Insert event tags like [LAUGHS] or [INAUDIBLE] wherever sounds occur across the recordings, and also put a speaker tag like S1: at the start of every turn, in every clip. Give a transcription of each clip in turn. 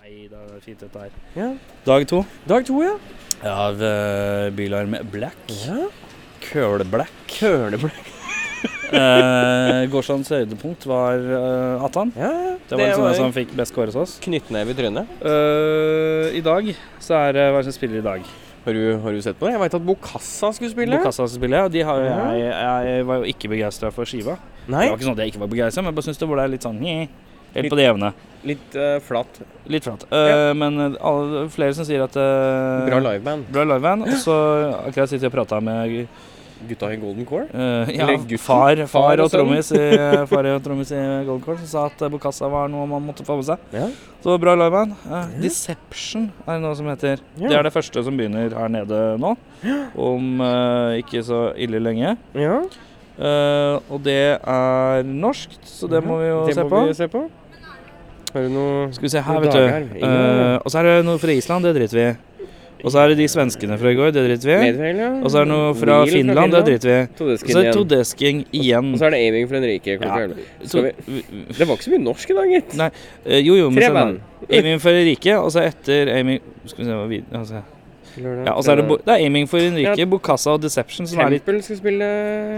S1: Nei da, det er fint dette her.
S2: Ja.
S1: Dag to
S2: Dag to, ja.
S1: av uh, Bilarm Black.
S2: ja.
S1: Køle-Black. [LAUGHS]
S2: Køleblikk.
S1: Eh, Gårsdagens høydepunkt var eh, Atan.
S2: Ja, ja.
S1: Det var liksom den som fikk best kåre hos oss.
S2: knyttneve i trynet.
S1: Eh, I dag så er det hva er det som spiller i dag.
S2: Har du, har du sett på det? Jeg veit at Bokassa skulle spille.
S1: Bokassa spiller, og de har, jo-
S2: Ja.
S1: jeg, jeg var jo ikke begeistra for skiva.
S2: Nei.
S1: Det var ikke sånn at jeg ikke var begeistra, men jeg bare syns det var der litt sånn nye, Helt på det jevne.
S2: Litt eh, flat.
S1: Litt flatt. Eh, Men eh, alle, flere som sier at eh,
S2: Bra liveband.
S1: Bra
S2: [GASPS]
S1: liveband. Og så akkurat sitter jeg og prater med
S2: Gutta i Golden Core.
S1: Eh, ja,
S2: Eller gutten.
S1: far, far,
S2: Far
S1: og
S2: og sønn.
S1: trommis i, far og trommis i Gold Court som sa at eh, Bokassa var noe man måtte få med seg.
S2: Ja.
S1: Så bra liveband. Eh, Deception er det noe som heter.
S2: Ja.
S1: Det er det første som begynner her nede nå, om eh, ikke så ille lenge.
S2: Ja.
S1: Eh, og det er norskt, så det må vi jo
S2: det
S1: se
S2: må
S1: på.
S2: Vi se på. Har du noe
S1: Skal vi se her,
S2: Noen
S1: vet
S2: dager.
S1: du. Eh, og så er det noe fra Island, det driter vi i. Og så er det de svenskene fra i går, det driter vi i.
S2: Nedfeil, ja.
S1: Og så er det noe fra
S2: Wheel
S1: Finland, det driter vi i. Og
S2: Todeskin
S1: så er det
S2: igjen.
S1: todesking igjen.
S2: Og så er det aiming for Henrike.
S1: Ja.
S2: klokka elleve.
S1: To-
S2: Skal vi- Det var ikke så mye norsk i dag, gitt.
S1: Nei, eh, jo jo, men
S2: Tre
S1: så-
S2: band.
S1: Aiming for Henrike, og så etter aiming Skal vi se hva vi altså. Ja, og så er det, bo- det er aiming for Henrike,
S2: Ja.
S1: Bokassa og Deception som er litt
S2: Tempel skal spille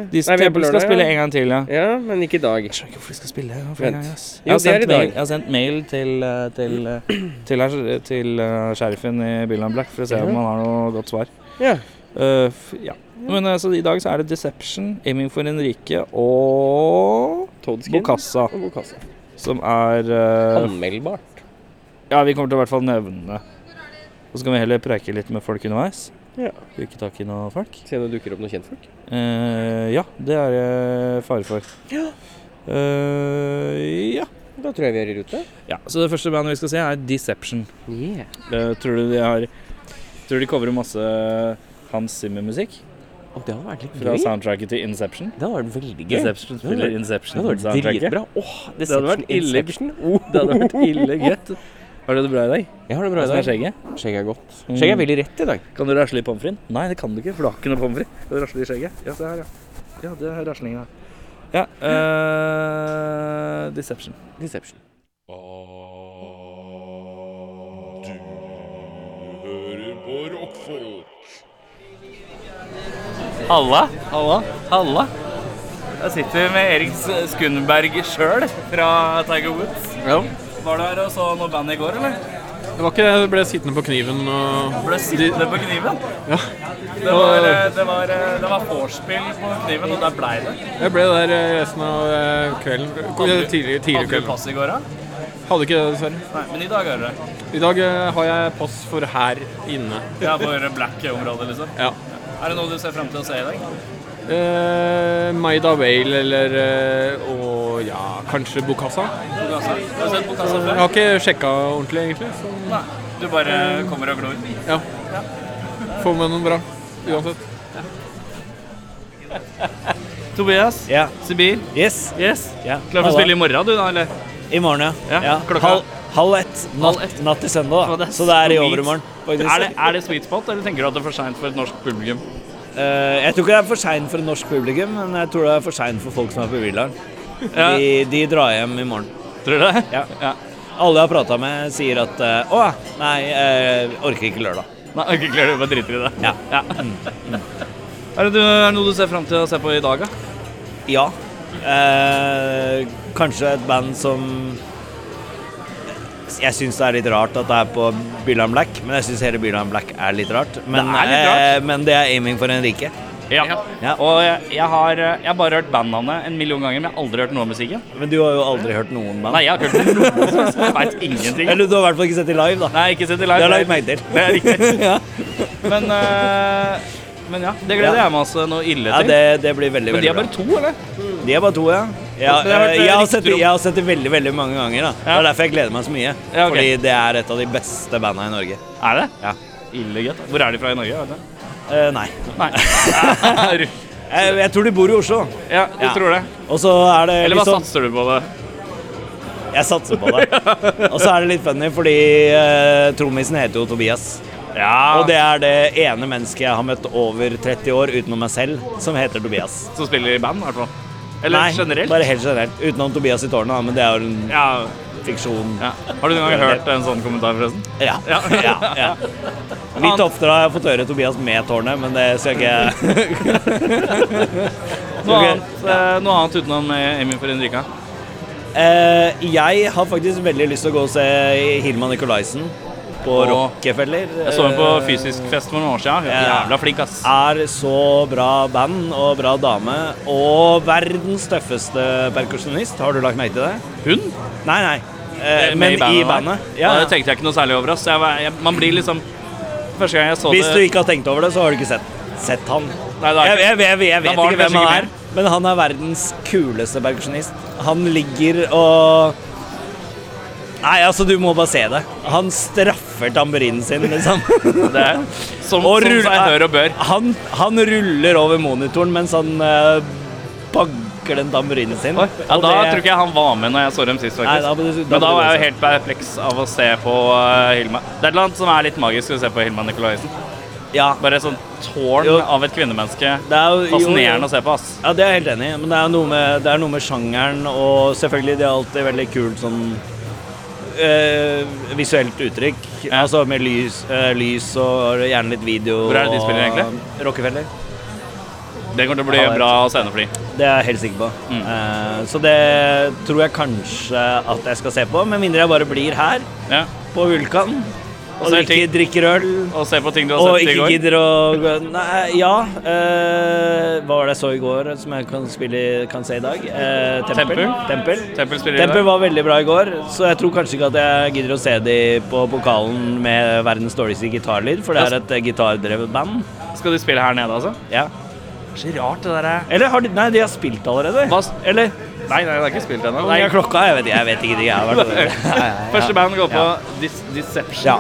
S1: De
S2: Nei, vi er på
S1: Temple skal
S2: lørdag,
S1: spille
S2: ja.
S1: en gang til, ja. Jeg
S2: Ja, men ikke i dag.
S1: skjønner ikke hvorfor de skal spille en gang
S2: Vent.
S1: gang, ass.
S2: Jo,
S1: Jeg har,
S2: det er i
S1: sendt
S2: dag.
S1: mail, jeg har sendt mail til, eh, til, eh, til, her- til eh, sheriffen i Billand Black for å se om
S2: Ja.
S1: han har noe godt svar.
S2: Ja.
S1: Eh, f ja. Men eh, så i dag så er det Deception, aiming for Henrike og
S2: Toddskin
S1: Bokassa,
S2: og Bokassa.
S1: som er eh,
S2: Anmeldbart.
S1: Ja, vi kommer til å i hvert fall nevne det. Og så kan vi heller preike litt med folk underveis.
S2: Ja.
S1: Bruke tak i noen folk.
S2: Se om det dukker opp noen kjentfolk.
S1: Eh, ja, det er det fare for.
S2: Ja.
S1: Eh, ja.
S2: Da tror jeg vi er i rute.
S1: ja. Så det første bandet vi skal se, er Deception.
S2: Yeah.
S1: Eh, tror du de har Tror du de covrer masse Hans Zimmer-musikk
S2: Og det hadde vært litt
S1: fra
S2: gøy.
S1: soundtracket til Inception?
S2: Det hadde vært veldig gøy.
S1: Deception spiller Inception.
S2: Det hadde vært
S1: soundtracket.
S2: dritbra. Åh, det
S1: hadde vært ille-
S2: Oh.
S1: [LAUGHS] Det hadde vært ille
S2: [LAUGHS]
S1: gøtt. Har du det bra i dag?
S2: Jeg har det bra i
S1: Hvordan er
S2: dag.
S1: skjegget?
S2: Skjegget er godt.
S1: Mm.
S2: Skjegget er veldig rett i dag.
S1: Kan du rasle i pommes fritesen? Nei, det kan du ikke, for du har ikke noe pommes frites. Det rasler i skjegget. Ja, se her, ja. Ja, det er raslinga. Ja. eh, Deception.
S2: Deception.
S3: Du hører på rockfolk.
S1: Halla. Halla. Halla. Da sitter vi med Erik Skunberg sjøl fra Tiger Woods.
S4: Ja.
S1: Var du her og så noe band i går, eller?
S4: Det var ikke det. Jeg ble sittende på kniven og
S1: Ble sittende på kniven?
S4: Ja.
S1: Det var, eh, det var, eh, det var vorspiel på kniven, og der blei det.
S4: Jeg ble der eh, resten av eh, kvelden. Eh, Tidlig, tidlig
S1: Hadde du
S4: kveld.
S1: pass i går, da?
S4: Hadde ikke det, dessverre.
S1: Nei, men i dag har du det.
S4: I dag eh, har jeg pass for her inne.
S1: Ja, for black-området, liksom.
S4: Ja.
S1: Er det noe du ser frem til å se i dag?
S4: Eh, Maida Whale eller eh, Og ja, kanskje Bokassa.
S1: Bokassa? Har du sett Bokassa
S4: Jeg
S1: før?
S4: har ikke sjekka ordentlig, egentlig. Så
S1: Nei. Du bare kommer og glor.
S4: ja. Få med noen bra. Uansett.
S1: Tobias,
S5: Ja.
S1: Sibir,
S5: Yes.
S1: yes.
S5: Ja.
S1: Klar for å spille i morgen, du, da? eller?
S5: I morgen, ja.
S1: Ja, klokka?
S5: Halv, halv ett. Natt,
S1: Halv ett.
S5: natt til
S1: Å,
S5: søndag. Da.
S1: det er
S5: Så det er i
S1: sweet.
S5: overmorgen. faktisk.
S1: Er det, er det sweet spot, eller tenker du at det er for seint for et norsk publikum?
S5: Eh, jeg tror ikke det er for seint for et norsk publikum, men jeg tror det er for seint for folk som er på Villaren.
S1: Ja.
S5: De, de drar hjem i morgen.
S1: Tror du det?
S5: Ja. Alle jeg har prata med, sier at eh, Å, nei, jeg orker ikke lørdag.
S1: Nei, ok, klarer du bare driter i det?
S5: Ja.
S1: Er det, du- er det noe du ser frem til å se på i dag, da?
S5: Ja. Eh, kanskje et band som Jeg syns det er litt rart at det er på Byland Black, men jeg syns hele Byland Black er litt rart. Men
S1: Det er litt rart.
S5: eh, men det er aiming for Henrike.
S1: Ja.
S5: Ja.
S1: Og jeg, jeg, har, eh, jeg har bare hørt bandnavnet en million ganger, men jeg har aldri hørt noe om musikken.
S5: Men du har jo aldri hørt noen band.
S1: Nei, jeg har ikke hørt
S5: [LAUGHS]
S1: noe, så jeg vet ingenting.
S5: Eller du har i hvert fall ikke sett de live, da.
S1: Nei, ikke sett i live.
S5: Det har jeg lagt merke til.
S1: Det er riktig.
S5: [LAUGHS] ja,
S1: Men, eh, men ja, det gleder
S5: Ja.
S1: jeg meg altså noe ille
S5: ja
S1: til.
S5: det, det blir veldig,
S1: men de
S5: veldig
S1: er bare
S5: bra.
S1: to, eller?
S5: De er bare to, ja. Ja,
S1: Men jeg har hørt,
S5: eh,
S1: eh,
S5: jeg, har
S1: rykter
S5: sett,
S1: om-
S5: jeg har sett det veldig veldig mange ganger. da Det
S1: Ja.
S5: er derfor jeg gleder meg så mye.
S1: Ja, ok.
S5: Fordi det er et av de beste banda i Norge.
S1: Er det?
S5: Ja.
S1: Ille gøtt. Hvor er de fra i Norge? Vet du?
S5: Eh, nei.
S1: [LAUGHS] Nei.
S5: Jeg, jeg tror de bor i Oslo.
S1: ja, du
S5: Ja.
S1: tror det.
S5: Og så er det
S1: Eller hva
S5: litt sånn
S1: satser du på det?
S5: Jeg satser på
S1: [LAUGHS]
S5: det. Og så er det litt funny, fordi eh, trommisen heter jo Tobias.
S1: Ja,
S5: Og det er det ene mennesket jeg har møtt over 30 år utenom meg selv, som heter Tobias.
S1: som spiller i band, i hvert fall. Eller
S5: Nei,
S1: generelt.
S5: bare helt generelt. Utenom Tobias i tårnet, da, men det er jo en
S1: Ja,
S5: fiksjon.
S1: Ja. Har du noen gang hørt en sånn kommentar, forresten?
S5: Ja. ja, [LAUGHS] ja,
S1: [LAUGHS]
S5: Litt oftere har jeg fått høre Tobias med tårnet, men det skal jeg
S1: [LAUGHS]
S5: ikke
S1: Noe
S5: Ok.
S1: annet, eh, noe annet utenom eh, Emil for Henrika?
S5: Eh, Jeg har faktisk veldig lyst til å gå og se Hilma Nicolaisen på
S1: Åh.
S5: Rockefeller.
S1: Jeg så henne på
S5: Eh,
S1: fysisk fest for noen år siden. Hun er
S5: Ja.
S1: jævla flink, ass.
S5: Eh, Er så bra band og bra dame, og verdens tøffeste perkusjonist. Har du lagt merke til det?
S1: Hun?
S5: Nei, nei. Eh,
S1: Med
S5: men i
S1: der.
S5: bandet.
S1: Ja,
S5: Ja,
S1: Det tenkte jeg ikke noe særlig over, ass. Jeg, var- jeg, man blir liksom Første gang jeg så
S5: Hvis du
S1: det
S5: ikke har tenkt over det, så har du ikke sett, sett han.
S1: Nei, det er
S5: Jeg,
S1: ikke-
S5: jeg, jeg, jeg
S1: Da
S5: vet
S1: var
S5: ikke
S1: det
S5: hvem
S1: kanskje
S5: han
S1: ikke
S5: er, men han er verdens kuleste perkusjonist. Han ligger og Nei, altså, du må bare se det. Han straffer tamburinen sin, liksom. [LAUGHS]
S1: det er som,
S5: Og
S1: som
S5: rull-
S1: seg hør og bør.
S5: Han, han ruller over monitoren mens han eh, banker den tamburinen sin.
S1: Ja, da tror ikke jeg han var med når jeg så dem sist,
S5: Nei,
S1: faktisk.
S5: da må du- da må
S1: Men da
S5: du
S1: var jeg
S5: lese.
S1: jo helt perpleks av å se på eh, Hilma. Det er et eller annet som er litt magisk å se på Hilma Nikolaisen.
S5: Ja,
S1: Bare et sånt tårn
S5: Jo.
S1: av et kvinnemenneske.
S5: det er jo
S1: Fascinerende å se på, ass.
S5: Ja, det er jeg helt enig i, men det er, noe med, det er noe med sjangeren, og selvfølgelig det er alltid veldig kult sånn eh, visuelt uttrykk.
S1: Ja.
S5: Altså med lys, eh, lys og gjerne litt video.
S1: Hvor er det de
S5: og-
S1: spiller egentlig?
S5: Rockefeller.
S1: Det kommer til å bli
S5: Ja, det er
S1: bra scenefly.
S5: Det er jeg helt sikker på.
S1: Mm.
S5: Eh, så det tror jeg kanskje at jeg skal se på, med mindre jeg bare blir her
S1: Ja.
S5: på Vulkan og,
S1: så er det
S5: drikker, drikker øl.
S1: Og se på ting du har
S5: Og
S1: sett i
S5: ikke
S1: går.
S5: gidder å gå- Nei, ja. eh, hva var det jeg så i går som jeg kan, spille, kan se i dag? Eh, Tempel.
S1: Tempel?
S5: Tempel.
S1: Tempel spiller i dag.
S5: Tempel var veldig bra i går, så jeg tror kanskje ikke at jeg gidder å se de på pokalen med verdens dårligste gitarlyd, for det er et eh, gitardrevet band.
S1: Skal de spille her nede, altså?
S5: Ja.
S1: Så rart, det derre
S5: Eller har de Nei, de har spilt allerede.
S1: Hva s-
S5: Eller
S1: Nei, nei, det er ikke spilt ennå.
S5: Nei, klokka Jeg vet, jeg vet ikke. Jeg har vært
S1: Første band går på Dis Deception.
S5: Ja.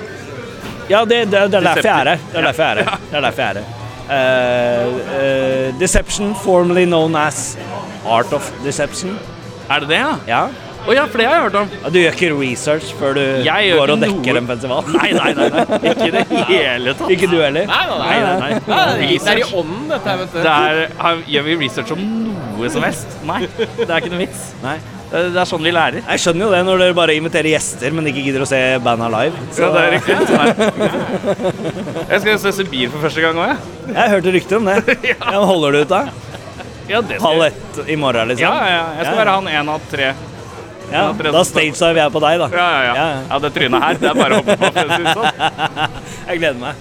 S5: Ja, det, det, det er derfor jeg er her. Det
S1: Ja.
S5: er derfor jeg er her. Det er derfor jeg er her. Eh, eh, deception, formerly known as Art of Deception.
S1: Er det det, ja?
S5: Ja.
S1: Å ja, for det har jeg hørt om.
S5: Du gjør ikke research før du
S1: Jeg gjør
S5: går og
S1: ikke
S5: dekker
S1: noe.
S5: en festival?
S1: Nei, nei, nei. nei. Ikke i det
S5: [LAUGHS]
S1: hele tatt.
S5: Ikke du
S4: Nei,
S5: heller?
S4: nei, nei.
S1: Nei, nei, nei.
S4: Det er i ånden, dette her, vet du.
S1: Det er, har- gjør vi research om noe som helst? Nei, det er ikke noe vits.
S5: Nei.
S1: Det det er sånn vi lærer.
S5: Jeg skjønner jo det når dere bare inviterer gjester, men ikke gidder å se bandet live. Så
S1: Ja, det er riktig. Jeg skal jo se Sibir for første gang òg, jeg.
S5: jeg hørte rykter
S1: [LAUGHS]
S5: om det. ja. men Holder du ut, da?
S1: Ja, det skal
S5: Halv
S1: jeg.
S5: ett i morgen,
S1: Ja,
S5: liksom?
S1: ja, ja. Jeg skal
S5: Ja, ja.
S1: være han én av tre.
S5: Ja, Da stagediver jeg på deg, da.
S1: Ja, ja, ja.
S5: Ja, ja.
S1: Ja, det trynet her, det er bare å hoppe på. for å si det sånn.
S5: [LAUGHS] Jeg gleder meg.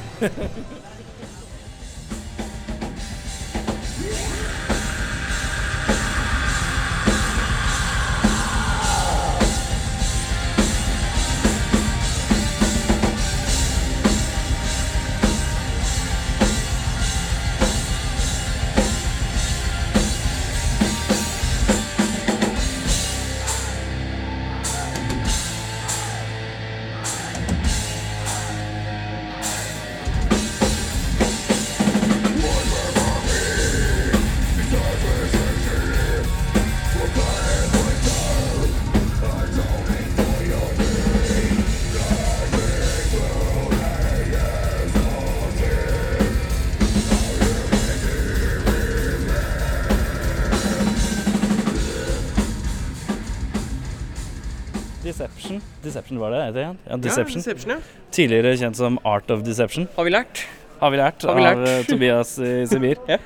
S1: Deception. Deception var det det igjen? Ja,
S4: Ja,
S1: Deception.
S4: Deception, ja.
S1: Tidligere kjent som Art of Deception.
S4: Har vi lært?
S1: Har vi lært
S4: Har vi lært?
S1: av eh, Tobias [LAUGHS] i Sibir.
S4: Ja.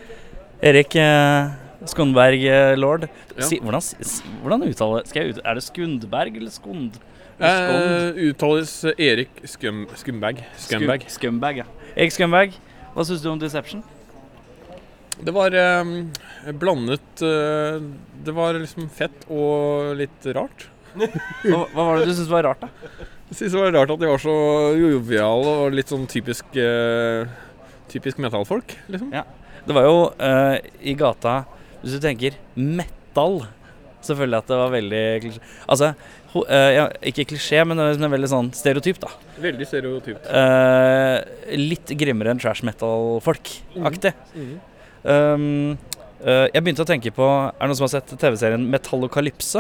S1: Erik eh, Skundberg eh, lord.
S4: Ja.
S1: Si, hvordan, s- s- hvordan uttaler skal jeg ut, Er det Skundberg eller Skund?
S4: Eh, uttales Erik Skum, Skumbag. Skumbag.
S1: Skumbag, ja. Erik Skumbag, hva syns du om Deception?
S4: Det var eh, blandet eh, Det var liksom fett og litt rart.
S1: Hva, hva var det du syntes var rart, da?
S4: Jeg synes det var rart at de var så joviale og litt sånn typisk eh, Typisk metallfolk, liksom.
S1: Det var jo eh, i gata Hvis du tenker metal Selvfølgelig at det var veldig klisjé. Altså, ho, eh, ja, ikke klisjé, men det er liksom veldig sånn stereotyp, da.
S4: Veldig stereotypt.
S1: Eh, litt grimmere enn trash metal-folk-aktig.
S4: Mhm.
S1: Um, eh, jeg begynte å tenke på Er det noen som har sett TV-serien Metallocalypse?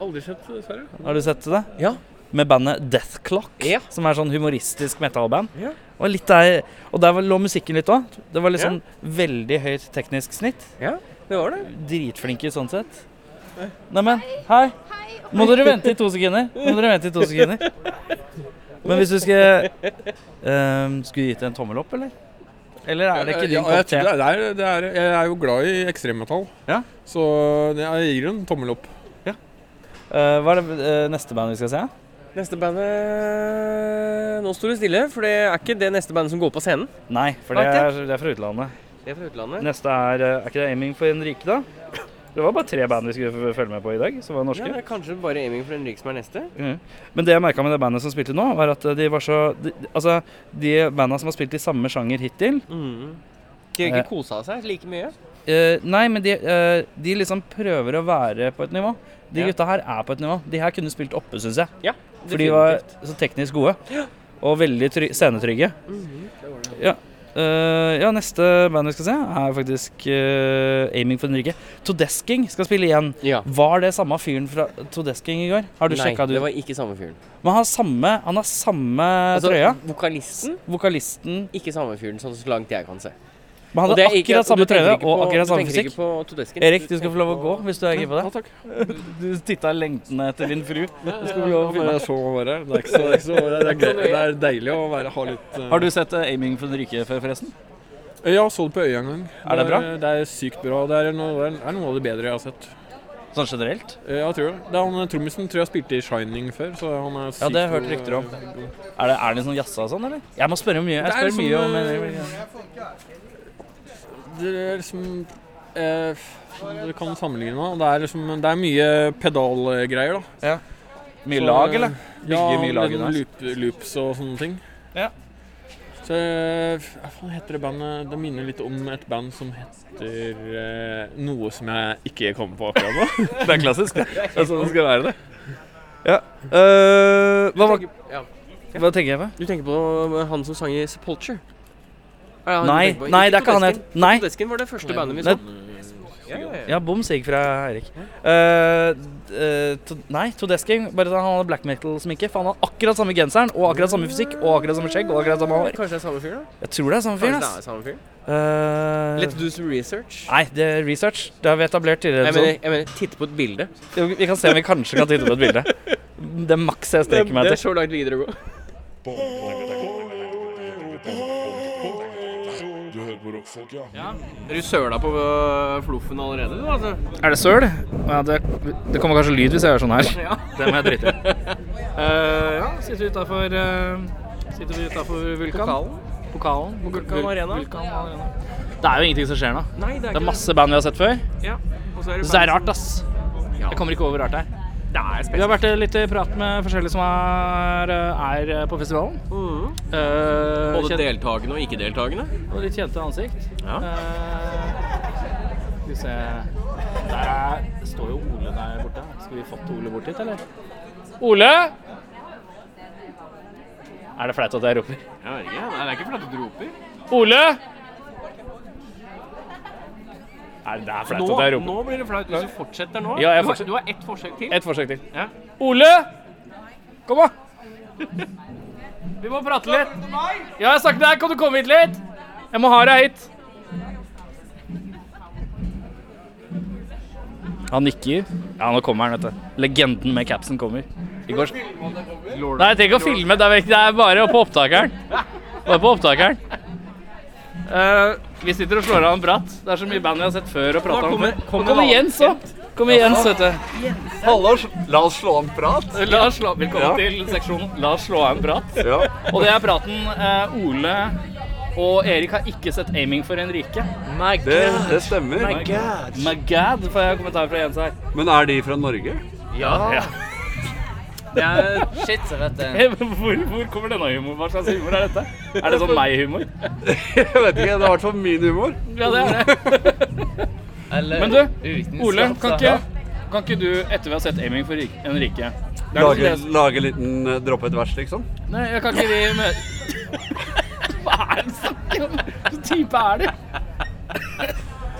S4: Aldri sett, dessverre.
S1: Har du sett det?
S4: Ja.
S1: Med bandet Death Clock,
S4: Ja.
S1: som er sånn humoristisk metalband.
S4: Ja.
S1: Og, litt der, og der var- lå musikken litt òg. Det var litt sånn veldig høyt teknisk snitt.
S4: Det var det.
S1: Dritflinke sånn sett. Neimen, hei.
S6: Hei, og
S1: Må dere vente i to sekunder? Må dere vente i to sekunder? Men hvis du skal ehm, Skulle du gitt en tommel opp, eller? Eller er det ikke din
S4: Eh, Ja, jeg,
S1: kopp te?
S4: tror det er, det er, jeg er jo glad i ekstremmetall,
S1: Ja.
S4: så jeg gir en tommel opp.
S1: Eh, hva er det eh, neste band vi skal se?
S2: Neste bandet Nå står det stille, for det er ikke det neste bandet som går på scenen.
S1: Nei, for det er, det er fra utlandet.
S2: Det er fra utlandet.
S1: Neste er eh, Er ikke det Aiming for en rike, da? Det var bare tre band vi skulle f- følge med på i dag, som var
S2: Ja, det
S1: norske.
S2: er kanskje bare aiming for Henrik som er neste.
S1: Mhm. Men det jeg merka med det bandet som spilte nå, var at eh, de var så de, Altså, de banda som har spilt i samme sjanger hittil,
S2: Mm. De har
S1: Eh.
S2: ikke kosa seg like mye.
S1: Eh, nei, men de, eh, de liksom prøver å være på et nivå. De
S2: Ja.
S1: gutta her er på et nivå. De her kunne spilt oppe, syns jeg.
S2: Ja,
S1: For de var så teknisk gode. Og veldig try scenetrygge.
S2: Mhm.
S1: ja. Eh, ja, neste band vi skal se, er faktisk eh, Aiming for den rike. Todesking skal spille igjen.
S2: ja.
S1: Var det samme fyren fra Todesking i går? Har du
S2: Nei,
S1: sjekka det
S2: det
S1: ut?
S2: var ikke samme fyren.
S1: Men han har samme, han har samme
S2: Altså,
S1: trøya.
S2: vokalisten,
S1: Vokalisten
S2: ikke samme fyren, sånn så langt jeg kan se.
S1: Men han
S2: Og det
S1: hadde
S2: er ikke-
S1: akkurat samme
S2: du tenker
S1: trøye og
S2: ikke på-
S1: akkurat samme
S2: Du tenker
S1: fysikk.
S2: ikke på Todesken.
S1: Erik, du skal få lov å gå hvis du er gira på det.
S4: Ja, takk.
S1: [LAUGHS] Du titta lengtende etter din fru.
S4: Jeg skal vel over Jeg så hva det er. Det er, ikke så, det er, ikke så, det er, gøy. det er deilig å være, ha litt eh,
S1: Har du sett eh, Aiming for den rike før, forresten?
S4: Ja, så det på øya en gang.
S1: Er det bra?
S4: er- eh, Det er sykt bra. Det er noe, det er noe av det bedre jeg har sett.
S1: Sånn generelt?
S4: Eh, Jeg tror det. det er han, eh, Trommisen tror jeg spilte i Shining før, så han er sykt
S1: Ja, det har jeg hørt rykter om. Er det, er det sånn jazza og sånn, eller? Jeg må spørre mye. Jeg
S4: Det er
S1: spør mye om eh,
S4: liksom, Det er liksom eh, Du kan sammenligne med det. Er liksom, det er mye pedalgreier, da.
S1: Mye
S4: så-
S1: lag, eller?
S4: Ja,
S1: Bygger mye lag i
S4: liksom
S1: det.
S4: loop, loops og sånne ting.
S1: Ja.
S4: Så eh, Hva faen heter det bandet? Det minner litt om et band som heter eh, noe som jeg ikke kommer på akkurat nå.
S1: [LAUGHS] Det er klassisk.
S4: Det er sånn det skal være, det.
S1: Eh, hva,
S2: Du tenker- ja.
S1: tenker jeg på?
S2: Du tenker på eh, han som sang i Sepulture? Er det han du
S1: Nei,
S2: tenker på?
S1: nei, det er ikke han jeg
S2: Todesken.
S1: Nei.
S2: Todesken var det første bandet vi
S1: Nei.
S2: så. Ja, ja, ja.
S1: Ja, bom sigg fra Eirik. Eh, d- eh, to, nei, Todesking. Bare at han hadde black metal-sminke. For han hadde akkurat samme genseren og akkurat samme fysikk og akkurat samme skjegg og akkurat samme hår.
S2: Kanskje det er samme fyr, da?
S1: Jeg tror det er samme fyr,
S2: Kanskje det
S1: ass.
S2: er samme fyr?
S1: Eh,
S2: Let's do some research.
S1: Nei, det er research. Det har vi etablert tidligere. i
S2: Jeg mener,
S1: episoden.
S2: jeg mener titte på et bilde.
S1: Jo, Vi kan se om vi kanskje kan titte på et bilde. Det er maks jeg
S2: Det,
S1: streker meg
S2: er
S1: etter.
S2: så langt videre å gå.
S3: Du hører på rockfolk, ja.
S2: Er du søla på øh, floffen allerede, du, altså?
S1: Er det søl? Ja, det, det kommer kanskje lyd hvis jeg gjør sånn her. [LAUGHS] Det må jeg drite i. Eh, ja, sitter vi utafor eh, Sitter vi utafor Vulkan?
S2: Pokalen?
S1: Pokalen.
S2: Vulkan Arena?
S1: Vulkan Arena. Det er jo ingenting som skjer nå.
S2: Nei, det er
S1: Det er
S2: ikke
S1: masse band vi har sett før.
S2: Ja. Og så er det
S1: Så det er rart, ass. Jeg kommer ikke over rart her.
S2: Det er
S1: Vi
S2: spesielt.
S1: har vært eh, litt i prat med forskjellige som er, eh, er på festivalen.
S2: Mhm.
S1: Eh,
S2: Både
S1: kjent-
S2: deltakende og ikke-deltakende.
S1: Og litt kjente ansikt.
S2: Ja.
S1: Eh, skal vi se Der er, står jo Ole der borte. Skal vi fått Ole bort hit, eller? Ole! Er det flaut at jeg roper?
S2: Ja, ja. Nei, det er ikke fordi du roper.
S1: Ole! Nei, det er flaut at jeg roper.
S2: blir det flaut hvis du fortsetter nå.
S1: Ja, jeg Du har- fortsetter.
S2: har ett forsøk til.
S1: Et forsøk til.
S2: Ja.
S1: Ole! Kom,
S2: [LAUGHS]
S1: da! Vi må prate litt. Ja, jeg snakker med deg. Kan du komme hit litt? Jeg må ha deg hit. Han nikker. Ja, nå kommer han, vet du. Legenden med capsen kommer. I går Nei, jeg trenger ikke å filme. Det er, vekk- det er bare på opptakeren. Bare på opptakeren. Eh, vi sitter og slår av en bratt. Det er så mye band vi har sett før og prata om før. Kom, kom igjen, så. Kom igjen, så, vet du. La oss slå, velkommen til seksjonen La oss slå av en prat. Og det er praten eh, Ole og Erik har ikke sett 'Aiming for en rike'.
S2: My God.
S7: Det stemmer.
S1: My god! My god, får jeg kommentar fra Jens her.
S7: Men er de fra Norge?
S1: Ja.
S2: Det er shit, jeg vet det.
S1: Eh, Hvor, hvor kommer denne humoren? Hva slags humor er dette? Er det sånn meg-humor?
S7: Jeg vet ikke, det er i hvert fall min humor.
S1: Ja, det er det. Men du, Ole, kan ikke, kan ikke du, etter vi har sett 'Aiming for rik- en rike' det er noe
S7: Lage,
S1: som
S7: lage en liten eh, droppe et vers, liksom.
S1: jeg- Nei, jeg kan ikke vi møte [LAUGHS] Hva er det du snakker om? Hva slags type er du?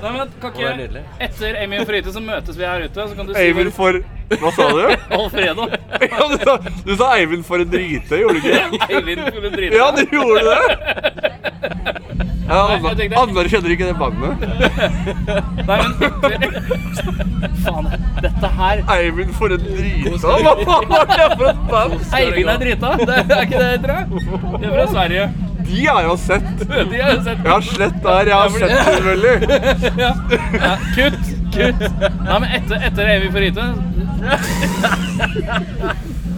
S1: Nei, men kan ikke... Etter Amy og Fride så møtes vi her ute, så kan du si
S7: Eivind for Hva sa
S1: [LAUGHS]
S7: du?
S1: Alfredo.
S7: Ja, du, sa, du sa Eivind for en drite, gjorde du ikke?
S1: Eivind skulle drite.
S7: Ja, du gjorde det! Ja,
S1: Nei, jeg tenkte-
S7: Anna- Anna kjenner ikke det bandet.
S1: Nei, men etter, faen. Dette her
S7: Eivind for en drita! Hva faen var det for et band?
S1: Eivind er drita. Det er ikke det det heter? da? De er fra Sverige.
S7: De har jeg jo sett.
S1: [LAUGHS] De har jo sett
S7: Jeg har slett der. Jeg har sett det, selvfølgelig.
S1: ja, Kutt! Kutt! Nei, men etter, etter Eivind for Rita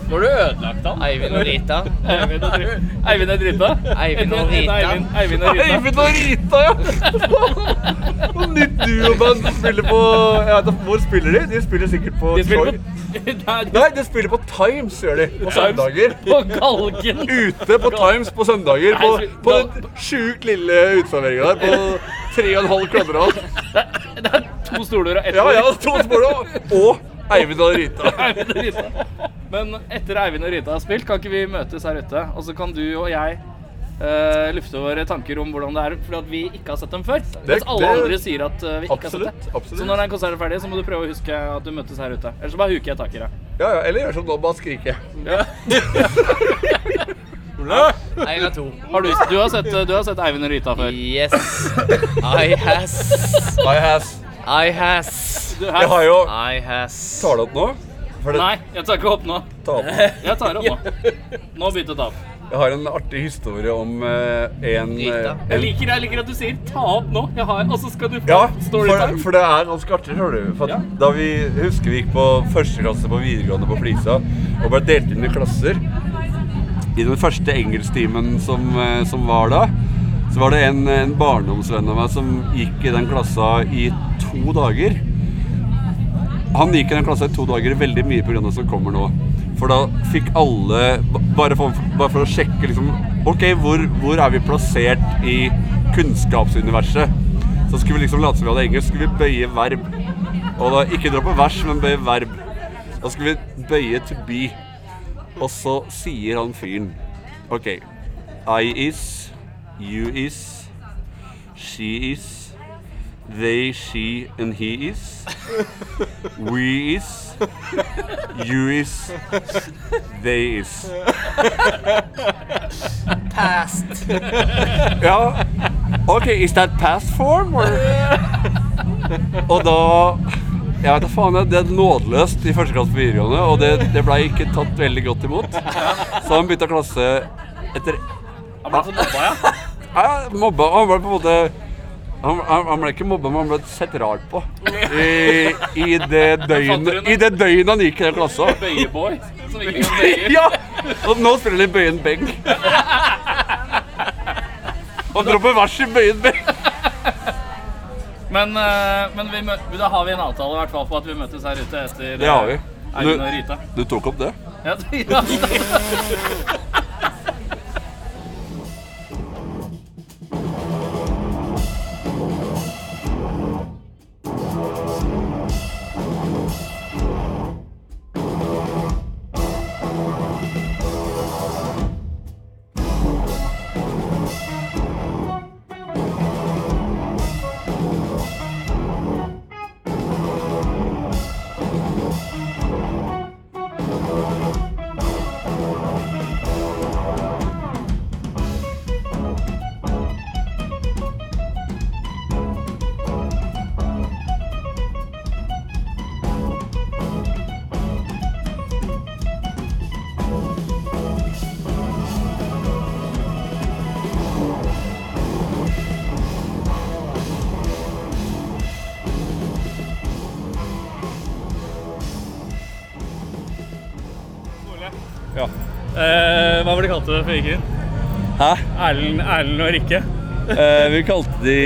S2: Nå har du ødelagt han.
S6: Eivind og Rita.
S1: Eivind og Dri- Eivind er drita.
S6: Eivind og
S1: Etter- etter
S6: Rita.
S1: Eivind- Eivind og Rita.
S7: Eivind og Rita, ja! [LAUGHS] Noe nytt duoband som spiller på jeg vet, ikke, Hvor spiller de? De spiller sikkert på
S1: De spiller
S7: Troy.
S1: på
S7: Nei, de spiller på Times, gjør de. På søndager.
S1: På Galgen.
S7: Ute på Times på søndager. På,
S1: Nei, så-
S7: på den sjukt lille uteserveringa der. På tre og en halv kvadrat.
S1: Det er to stoler og ett
S7: Ja,
S1: bord.
S7: ja, to spor og- Og Eivind og Rita.
S1: Eivind og Rita. Men etter Eivind og Rita har spilt, kan ikke vi møtes her ute? Og så kan du og jeg eh, lufte våre tanker om hvordan det er, fordi at vi ikke har sett dem før. Mens alle
S7: det-
S1: andre sier at eh, vi ikke har
S7: Absolutt,
S1: sett dem.
S7: absolutt.
S1: Så når den konserten er ferdig, så må du prøve å huske at du møttes her ute. Ellers så bare huker jeg tak i deg.
S7: Ja, ja, eller gjør som nå, bare skrike.
S6: Én av to.
S1: Har du, du, har sett, eh, du har sett Eivind og Rita før?
S6: Yes. I has.
S7: I has.
S6: I has.
S1: Du,
S7: Jeg
S1: her?
S7: har jo
S6: I has.
S7: Tar det opp nå? For det,
S1: Nei, jeg tar ikke opp nå.
S7: ta opp.
S1: Jeg tar opp nå. Nå begynte det opp.
S7: Jeg har en artig historie om eh, en
S6: Rita.
S7: eh,
S1: Jeg
S7: en-
S1: liker, jeg liker at du sier 'ta opp nå', jeg har, og så skal du få
S7: Ja, for,
S1: storytime.
S7: for det er ganske artig, hører du. For at
S1: Ja.
S7: Da vi husker vi gikk på første klasse på videregående på Flisa og ble delt inn i klasser. I den første engelsktimen som, eh, som var da, så var det en, en barndomsvenn av meg som gikk i den klassa i to dager. Han gikk i den klassa i to dager veldig mye pga. det som kommer nå. For da fikk alle ba- Bare for, bare for å sjekke liksom OK, hvor, hvor er vi plassert i kunnskapsuniverset? Så skulle vi liksom late som vi hadde engelsk, skulle vi bøye verb. Og da ikke dra på vers, men bøye verb. Da skulle vi bøye to be. Og så sier han fyren OK. I is, you is, she is, they, she and he is. We is, you is, they is.
S6: Past.
S7: Ja, ok, is that past form? Or? Og da, jeg vet da faen, det er nådeløst i første klasse på videregående, og det, det ble ikke tatt veldig godt imot. Så han bytta klasse etter,
S1: Han ble så mobba, ja.
S7: [LAUGHS] ja, mobba, han ble på en måte, han, han, han ble ikke mobba, men han ble sett rart på. I, i det
S1: [LAUGHS]
S7: døgnet, i det døgnet han gikk i den klassa.
S1: Bøyeboy. Som ikke kan bøye.
S7: [LAUGHS] Ja! Og nå spiller de Bøyen Beng. Og dropper vers i Bøyen Beng.
S1: Men, eh, men vi mø da har vi en avtale i hvert fall på at vi møtes her ute etter eh,
S7: Det har vi.
S1: Eivind og Rita.
S7: Du tok opp det?
S1: Ja, [LAUGHS] ja, ja.
S8: Eh, hva var det de kalte det for Ikrin?
S7: Hæ?
S8: Erlend, Erlend og Rikke?
S7: Eh, vi kalte de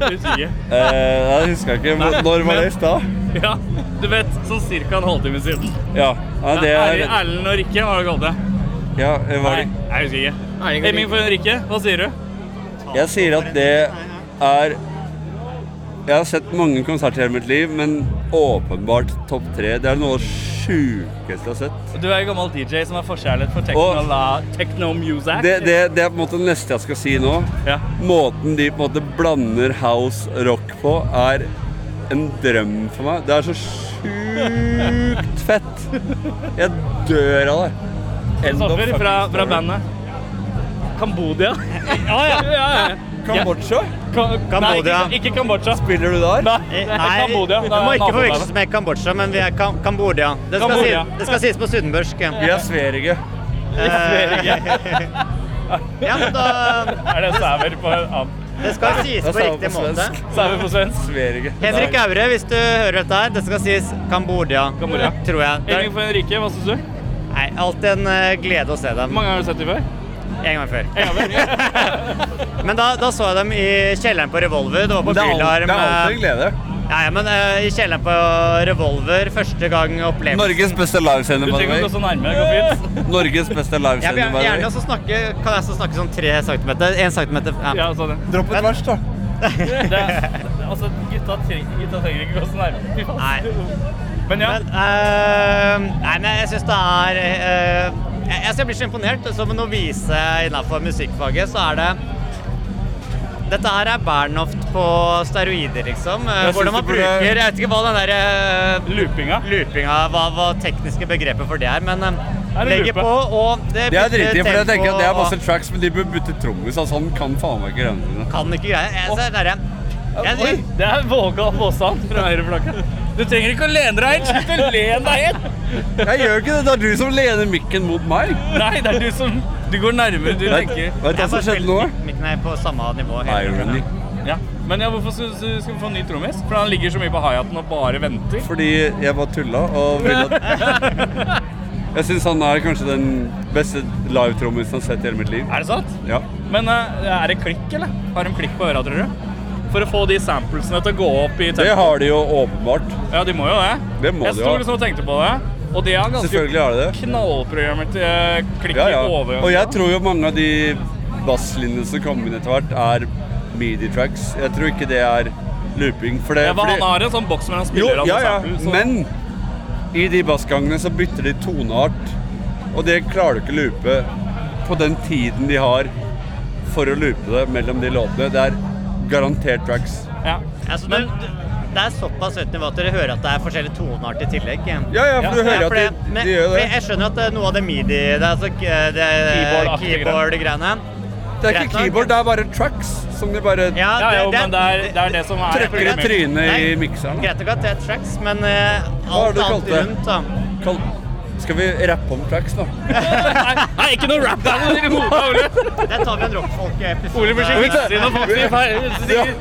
S8: Husker ikke.
S7: eh, Jeg husker ikke. men Når var det i stad?
S8: Ja, du vet, sånn cirka en halvtime siden.
S7: Ja. Nei, det er
S8: Er- Erlend og Rikke, hva var det de kalte det?
S7: Ja, eh, var det
S8: Nei, jeg husker ikke. Hemming for Rikke, hva sier du?
S7: Jeg sier at det er Jeg har sett mange konserter i hele mitt liv, men åpenbart topp tre. Det er noe av det sjukeste jeg har sett.
S8: Du er en gammel DJ som har forkjærlighet for
S7: techno-
S8: techno-music.
S7: Det, det, det er på en måte det neste jeg skal si nå.
S8: Ja.
S7: Måten de på en måte blander house rock på, er en drøm for meg. Det er så sjukt fett. Jeg dør av det. End of
S8: Kristoffer
S7: fucking
S8: fra, fra
S7: story.
S8: bandet. Kambodia. ja, ja, ja, ja.
S7: Kambodsja?
S1: Nei,
S9: Kambodia.
S1: ikke, ikke Kambodsja.
S7: Spiller du der?
S1: Nei, det er Kambodia.
S9: Eh, du
S1: Det er
S9: må ikke
S1: nabolandet.
S9: forveksles med Kambodsja, men vi er Kam Kambodia. Det skal,
S1: Kambodia.
S9: Si, det skal sies på sunnmørsk.
S7: Vi er Sverige.
S9: Ja, men da,
S1: Er det sauer på, ja,
S9: det skal sies på
S7: sa jeg
S9: riktig
S7: på
S9: måte.
S7: svensk.
S1: sauer på svensk?
S7: Sverige.
S9: Henrik Aure, hvis du hører dette her, det skal sies Kambodia,
S1: Kambodia.
S9: tror jeg. Det
S1: Henning for Henrike, hva syns du?
S9: er nei, alltid en eh, glede å se dem.
S1: Hvor mange har du sett dem før?
S9: En gang før.
S1: En gang før.
S9: Men da, da så jeg dem i kjelleren på Revolver. Det var på
S7: Det er al-
S9: Bylarm.
S7: det er alltid en
S9: eh,
S7: glede.
S9: Ja, ja, men eh, i kjelleren på Revolver, første gang opplevelse.
S7: Norges beste livesender,
S1: Du
S7: by the
S1: trenger ikke
S7: way.
S1: gå så nærme, det går fint.
S7: Norges beste
S9: Jeg vil
S7: livesender, by the
S9: gjerne
S7: way.
S9: også snakke, kan jeg også snakke sånn tre centimeter? En centimeter?
S1: Ja, sånn, ja.
S7: Dropp et vers, da.
S1: Det, altså, gutta trenger, gutta trenger ikke gå så nærme. Fy faen.
S9: Nei.
S1: Men ja,
S9: Men, eh, nei, men jeg syns det er eh, jeg, altså, jeg blir så imponert. Som novise innenfor musikkfaget, så er det dette her er Bernhoft på steroider, liksom. Eh,
S7: Jeg syns
S9: Hvordan man
S7: du burde-
S9: bruker Jeg vet ikke hva den derre
S1: loopinga.
S9: loopinga Hva var tekniske begrepet for det her, men uh,
S1: det
S9: legger
S1: loope?
S9: på og Det
S7: Det er drittig, for jeg
S9: bytter
S7: tenker at det er
S9: tempo,
S7: masse
S9: og
S7: tracks, men de bør bytte trommis. Altså, han kan faen meg ikke reglene dine.
S9: Kan ikke greie Jeg ser derre jeg,
S1: Oi, det er våga påstand fra høyreflakka. Du trenger ikke å lene deg helt. Slutt å lene deg helt.
S7: Jeg gjør ikke det. Det er du som lener mikken mot meg.
S1: Nei, det er du som Du går nærmere, du
S7: Vet
S1: tenker
S7: vet du hva som skjedde nå?
S9: Mikken er på samme nivå. hele tiden.
S7: Irony.
S1: ja. Men ja, hvorfor skal, skal vi få en ny trommis? For han ligger så mye på hi-haten og bare venter.
S7: Fordi jeg bare tulla og ville at
S1: [LAUGHS]
S7: Jeg syns han er kanskje den beste live-trommisen jeg har sett i hele mitt liv.
S1: Er det sant?
S7: Ja.
S1: Men eh, er det klikk, eller? Har de klikk på øra, tror du? For å få de samplesene til å gå opp i
S7: Det
S1: tempo.
S7: har de jo åpenbart.
S1: Ja, de må jo det.
S7: Det må
S1: jeg
S7: de
S1: sto
S7: ha.
S1: liksom og tenkte på det. Og det er
S7: Selvfølgelig
S1: ganske
S7: har de det.
S1: knallprogrammet til eh, klikk
S7: Ja, ja.
S1: i overgangen.
S7: Og jeg tror jo mange av de basslinjene som kommer inn etter hvert, er midi-tracks. Jeg tror ikke det er looping. For det,
S1: ja, men
S7: fordi-
S1: han har en sånn boks med han
S7: Jo,
S1: spiller alle
S7: ja, ja.
S1: samples, så-
S7: Men i de bassgangene så bytter de toneart, og det klarer du ikke å loope på den tiden de har for å loope det mellom de låtene. Det er garantert tracks.
S1: ja.
S9: Altså, det, det er såpass høyt nivå at dere hører at det er forskjellige toneart i tillegg.
S7: Ja, ja, for du hører at
S9: for
S7: de,
S9: det- men-
S7: de gjør
S9: for
S7: det.
S9: Jeg skjønner at det er noe av det midi Det er altså eh, det er
S1: Keyboard-aktige
S9: keyboard-greiene.
S7: Det er ikke keyboard, det er bare tracks som de bare
S9: Ja,
S1: ja, jo,
S9: det,
S1: men det er, det er det som er
S7: trykker i trynet i mikseren.
S9: Greit nok at det er tracks, men eh,
S7: har
S9: alt
S7: du kalt
S9: annet
S7: det?
S9: rundt, da.
S7: Kall- Skal vi rappe om tracks nå?
S1: Nei, nei, ikke noe rap battle i hodet, Ole.
S9: Der tar
S1: Ole
S9: vi en
S1: blir så
S9: rockfolk-episode.
S1: hissig når folk sier feil. sier-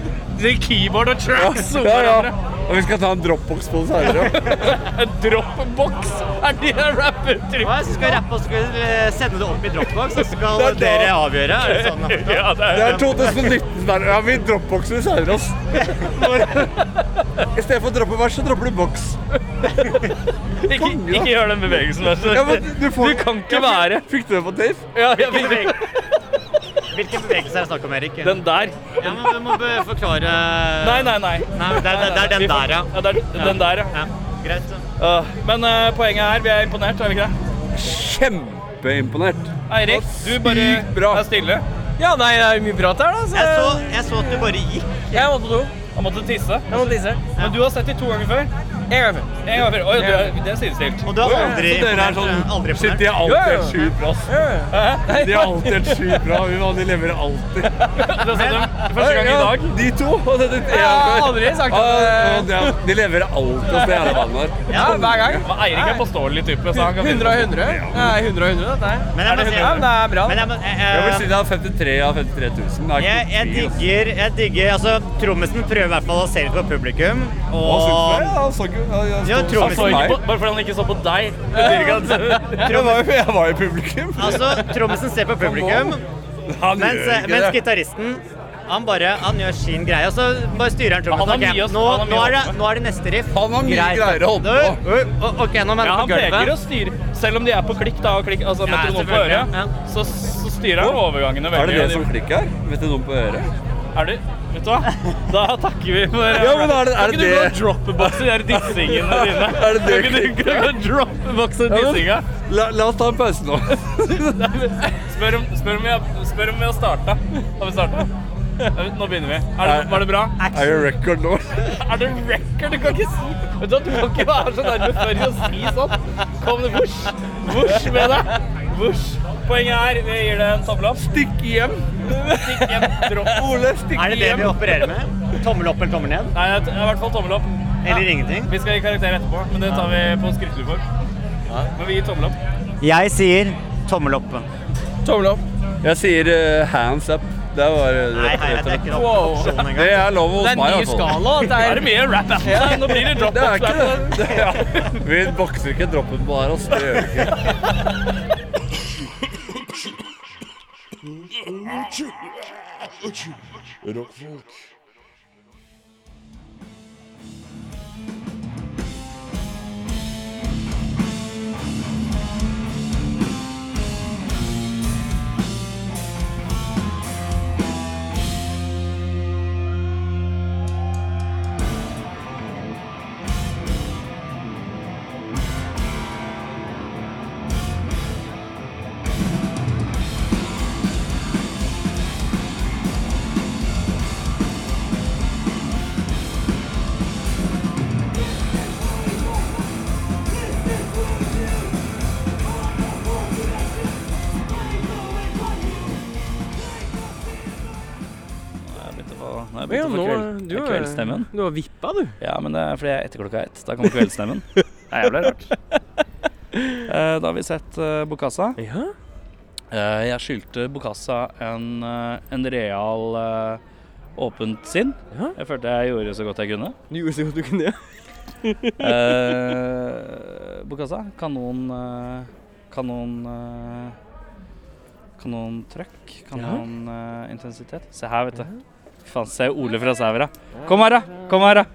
S1: sier keyboard og tracks over
S7: Ja, ja.
S1: hverandre.
S7: Og vi skal ta en dropbox på det senere.
S1: En Dropbox er de jeg rapper til.
S9: Hva, så skal rappe og skal eh, sende det opp i Dropbox, så skal
S7: Det er da-
S9: dere avgjøre? Er det sånn?
S1: [LAUGHS] Ja, det
S7: Det
S1: er
S7: er 2019 der. Ja, vi dropboxer senere, ass. I stedet for å droppe vers, så dropper du boks.
S1: Ikke, ikke gjør den bevegelsen, vær så
S7: Ja, men du, får,
S1: Du kan ikke være
S7: Fikk du det på tape?
S1: ja, jeg vil-
S9: Hvilken bevegelse er det snakk om, Erik?
S1: Den der.
S9: Ja, men vi må be- forklare
S1: Nei, nei, nei.
S9: Nei, men det, er- det, det er
S1: Vi
S9: den
S1: får-
S9: der, ja.
S1: ja det er den der, ja.
S9: ja. Greit. så.
S1: Øh, Men øh, poenget er, vi er imponert, er vi ikke det?
S7: Kjempeimponert.
S1: Eirik, du bare
S7: Sykt bra.
S1: er stille.
S10: Ja, nei, det er jo mye prat her, da.
S9: Jeg så,
S10: Så
S9: jeg så at du bare gikk.
S10: jeg måtte på do.
S1: Han måtte tisse.
S10: Jeg måtte tisse.
S1: Men du har sett dem to ganger før.
S10: En gang før.
S1: En gang før. Oi, du er, det er sidestilt.
S9: Og du har aldri
S7: Så dere er sånn
S9: imponert, eh, aldri
S7: Shit, de
S9: imponert.
S7: er alltid helt sjukt bra. ass. De er alltid helt sjukt bra. Vi de leverer alltid.
S1: Du har sett dem første gang i
S7: Ja,
S1: dag.
S7: De to. Og denne ene
S10: Jeg har
S7: før.
S10: aldri sagt
S7: Ja,
S10: at
S7: og de- De leverer alltid hos det jævla bandet der.
S10: Ja, hver gang.
S1: Men Eirik er påståelig type, så han kan
S10: 100 av 100. Ja, 100 av 100, dette her.
S9: Men jeg må si
S10: Ja, men det er bra.
S9: men jeg, må- eh, eh,
S7: Jeg vil si det er 53 av 53 000. Det er
S9: jeg,
S7: ikke
S9: jeg
S7: mye, ass.
S9: digger, jeg digger altså, Trommisen prøver i hvert fall å se litt på publikum.
S7: Hva synes du? altså.
S9: Og
S7: Ja, han så ikke- han- han
S9: Ja,
S7: så-
S9: Trond-
S7: han så meg.
S1: Ikke på, bare fordi han ikke så på deg. betyr ikke at-
S7: Jeg var jo- jeg var i publikum.
S9: altså, Trommisen ser på publikum,
S7: Han
S9: mens,
S7: gjør ikke
S9: mens
S7: det.
S9: gitaristen han bare han gjør sin greie, og så bare styrer han
S1: Han
S9: trommisen.
S1: har
S9: Ok,
S1: mye å-
S9: nå,
S1: han har mye
S9: nå, er
S1: å holde
S9: det, nå er det neste riff.
S7: Han har mye
S9: Greit.
S7: greier å holde på.
S9: Ø, ø, ø, Ok, nå må
S1: Ja,
S9: jeg
S1: han
S9: på
S1: peker og
S9: gulvet.
S1: styrer. Selv om de er på klikk, da, og klikk, altså
S9: Ja,
S1: metronom på
S9: selvfølgelig,
S1: øret,
S9: ja.
S1: så, så styrer han overgangene
S7: Er
S1: veldig.
S7: det det som klikker? Vet du noen på øret?
S1: Er du, vet du hva? Da takker vi for
S7: Ja, men er det- er det
S1: Kan ikke du gå
S7: det-
S1: og droppeboxe de der dissingene
S7: [LAUGHS]
S1: dine?
S7: Er det det
S1: Kan ikke du gå og droppeboxe
S7: men-
S1: dissinga?
S7: La, la oss ta en pause nå.
S1: Spør om, spør om, vi, har, spør om vi har starta. Har vi starta? Nå begynner vi. Er det, var det bra?
S7: Er det record nå?
S1: Er det record? Du kan ikke si Vet du hva, du kan ikke være så nærme før å si sånn. Kom det vosj, vosj med deg.
S8: overs. Poenget er, vi gir det en tommel opp.
S7: Stikk hjem!
S8: Stikk hjem, dropp.
S7: Ole, stikk
S9: Er det det vi opererer med? Tommel opp eller
S1: [LAUGHS]
S9: tommel ned?
S8: Nei, det er i hvert fall tommel opp.
S9: Eller ingenting?
S8: Vi skal gi karakter etterpå, men det tar vi på skriftlig form. Men vi gir tommel opp.
S9: Jeg sier tommel opp.
S2: Tommel opp.
S7: Jeg sier eh, hands up. Det var eh, rett
S9: Nei, hei, jeg
S7: rett og slett.
S9: dekker opp opsjonen en
S7: Det
S9: gang.
S7: er lov hos meg, i hvert fall.
S8: Det er det mye rap battle. Nå blir det drop
S7: Det er
S8: off.
S7: ikke det. det [LAUGHS] er, vi bokser ikke droppen på her, altså. Det gjør vi ikke.
S3: Rockfolk.
S1: Jeg begynte å få- nå har jeg
S2: Ja,
S1: begynt å
S2: nå,
S1: få kveld,
S2: du, er,
S1: kveldsstemmen.
S2: du har vippa, du.
S1: Ja, men det er fordi jeg er etter klokka ett. Da kommer
S2: [LAUGHS]
S1: kveldsstemmen. Det er jævlig rart. [LAUGHS] Eh, Da har vi sett eh, Bokassa.
S2: Ja.
S1: Eh, Jeg skyldte Bokassa en, eh, en real eh, åpent sinn.
S2: Ja.
S1: Jeg følte jeg gjorde så godt jeg kunne.
S2: Du gjorde så godt du kunne.
S1: Eh, Bokassa, kan noen eh, Kan noen eh, Kan noen trøkk? Kan
S2: Ja.
S1: noen eh, intensitet? Se her, vet du. Fy faen, se Ole fra Sævra. Kom her, da! Kom her, da!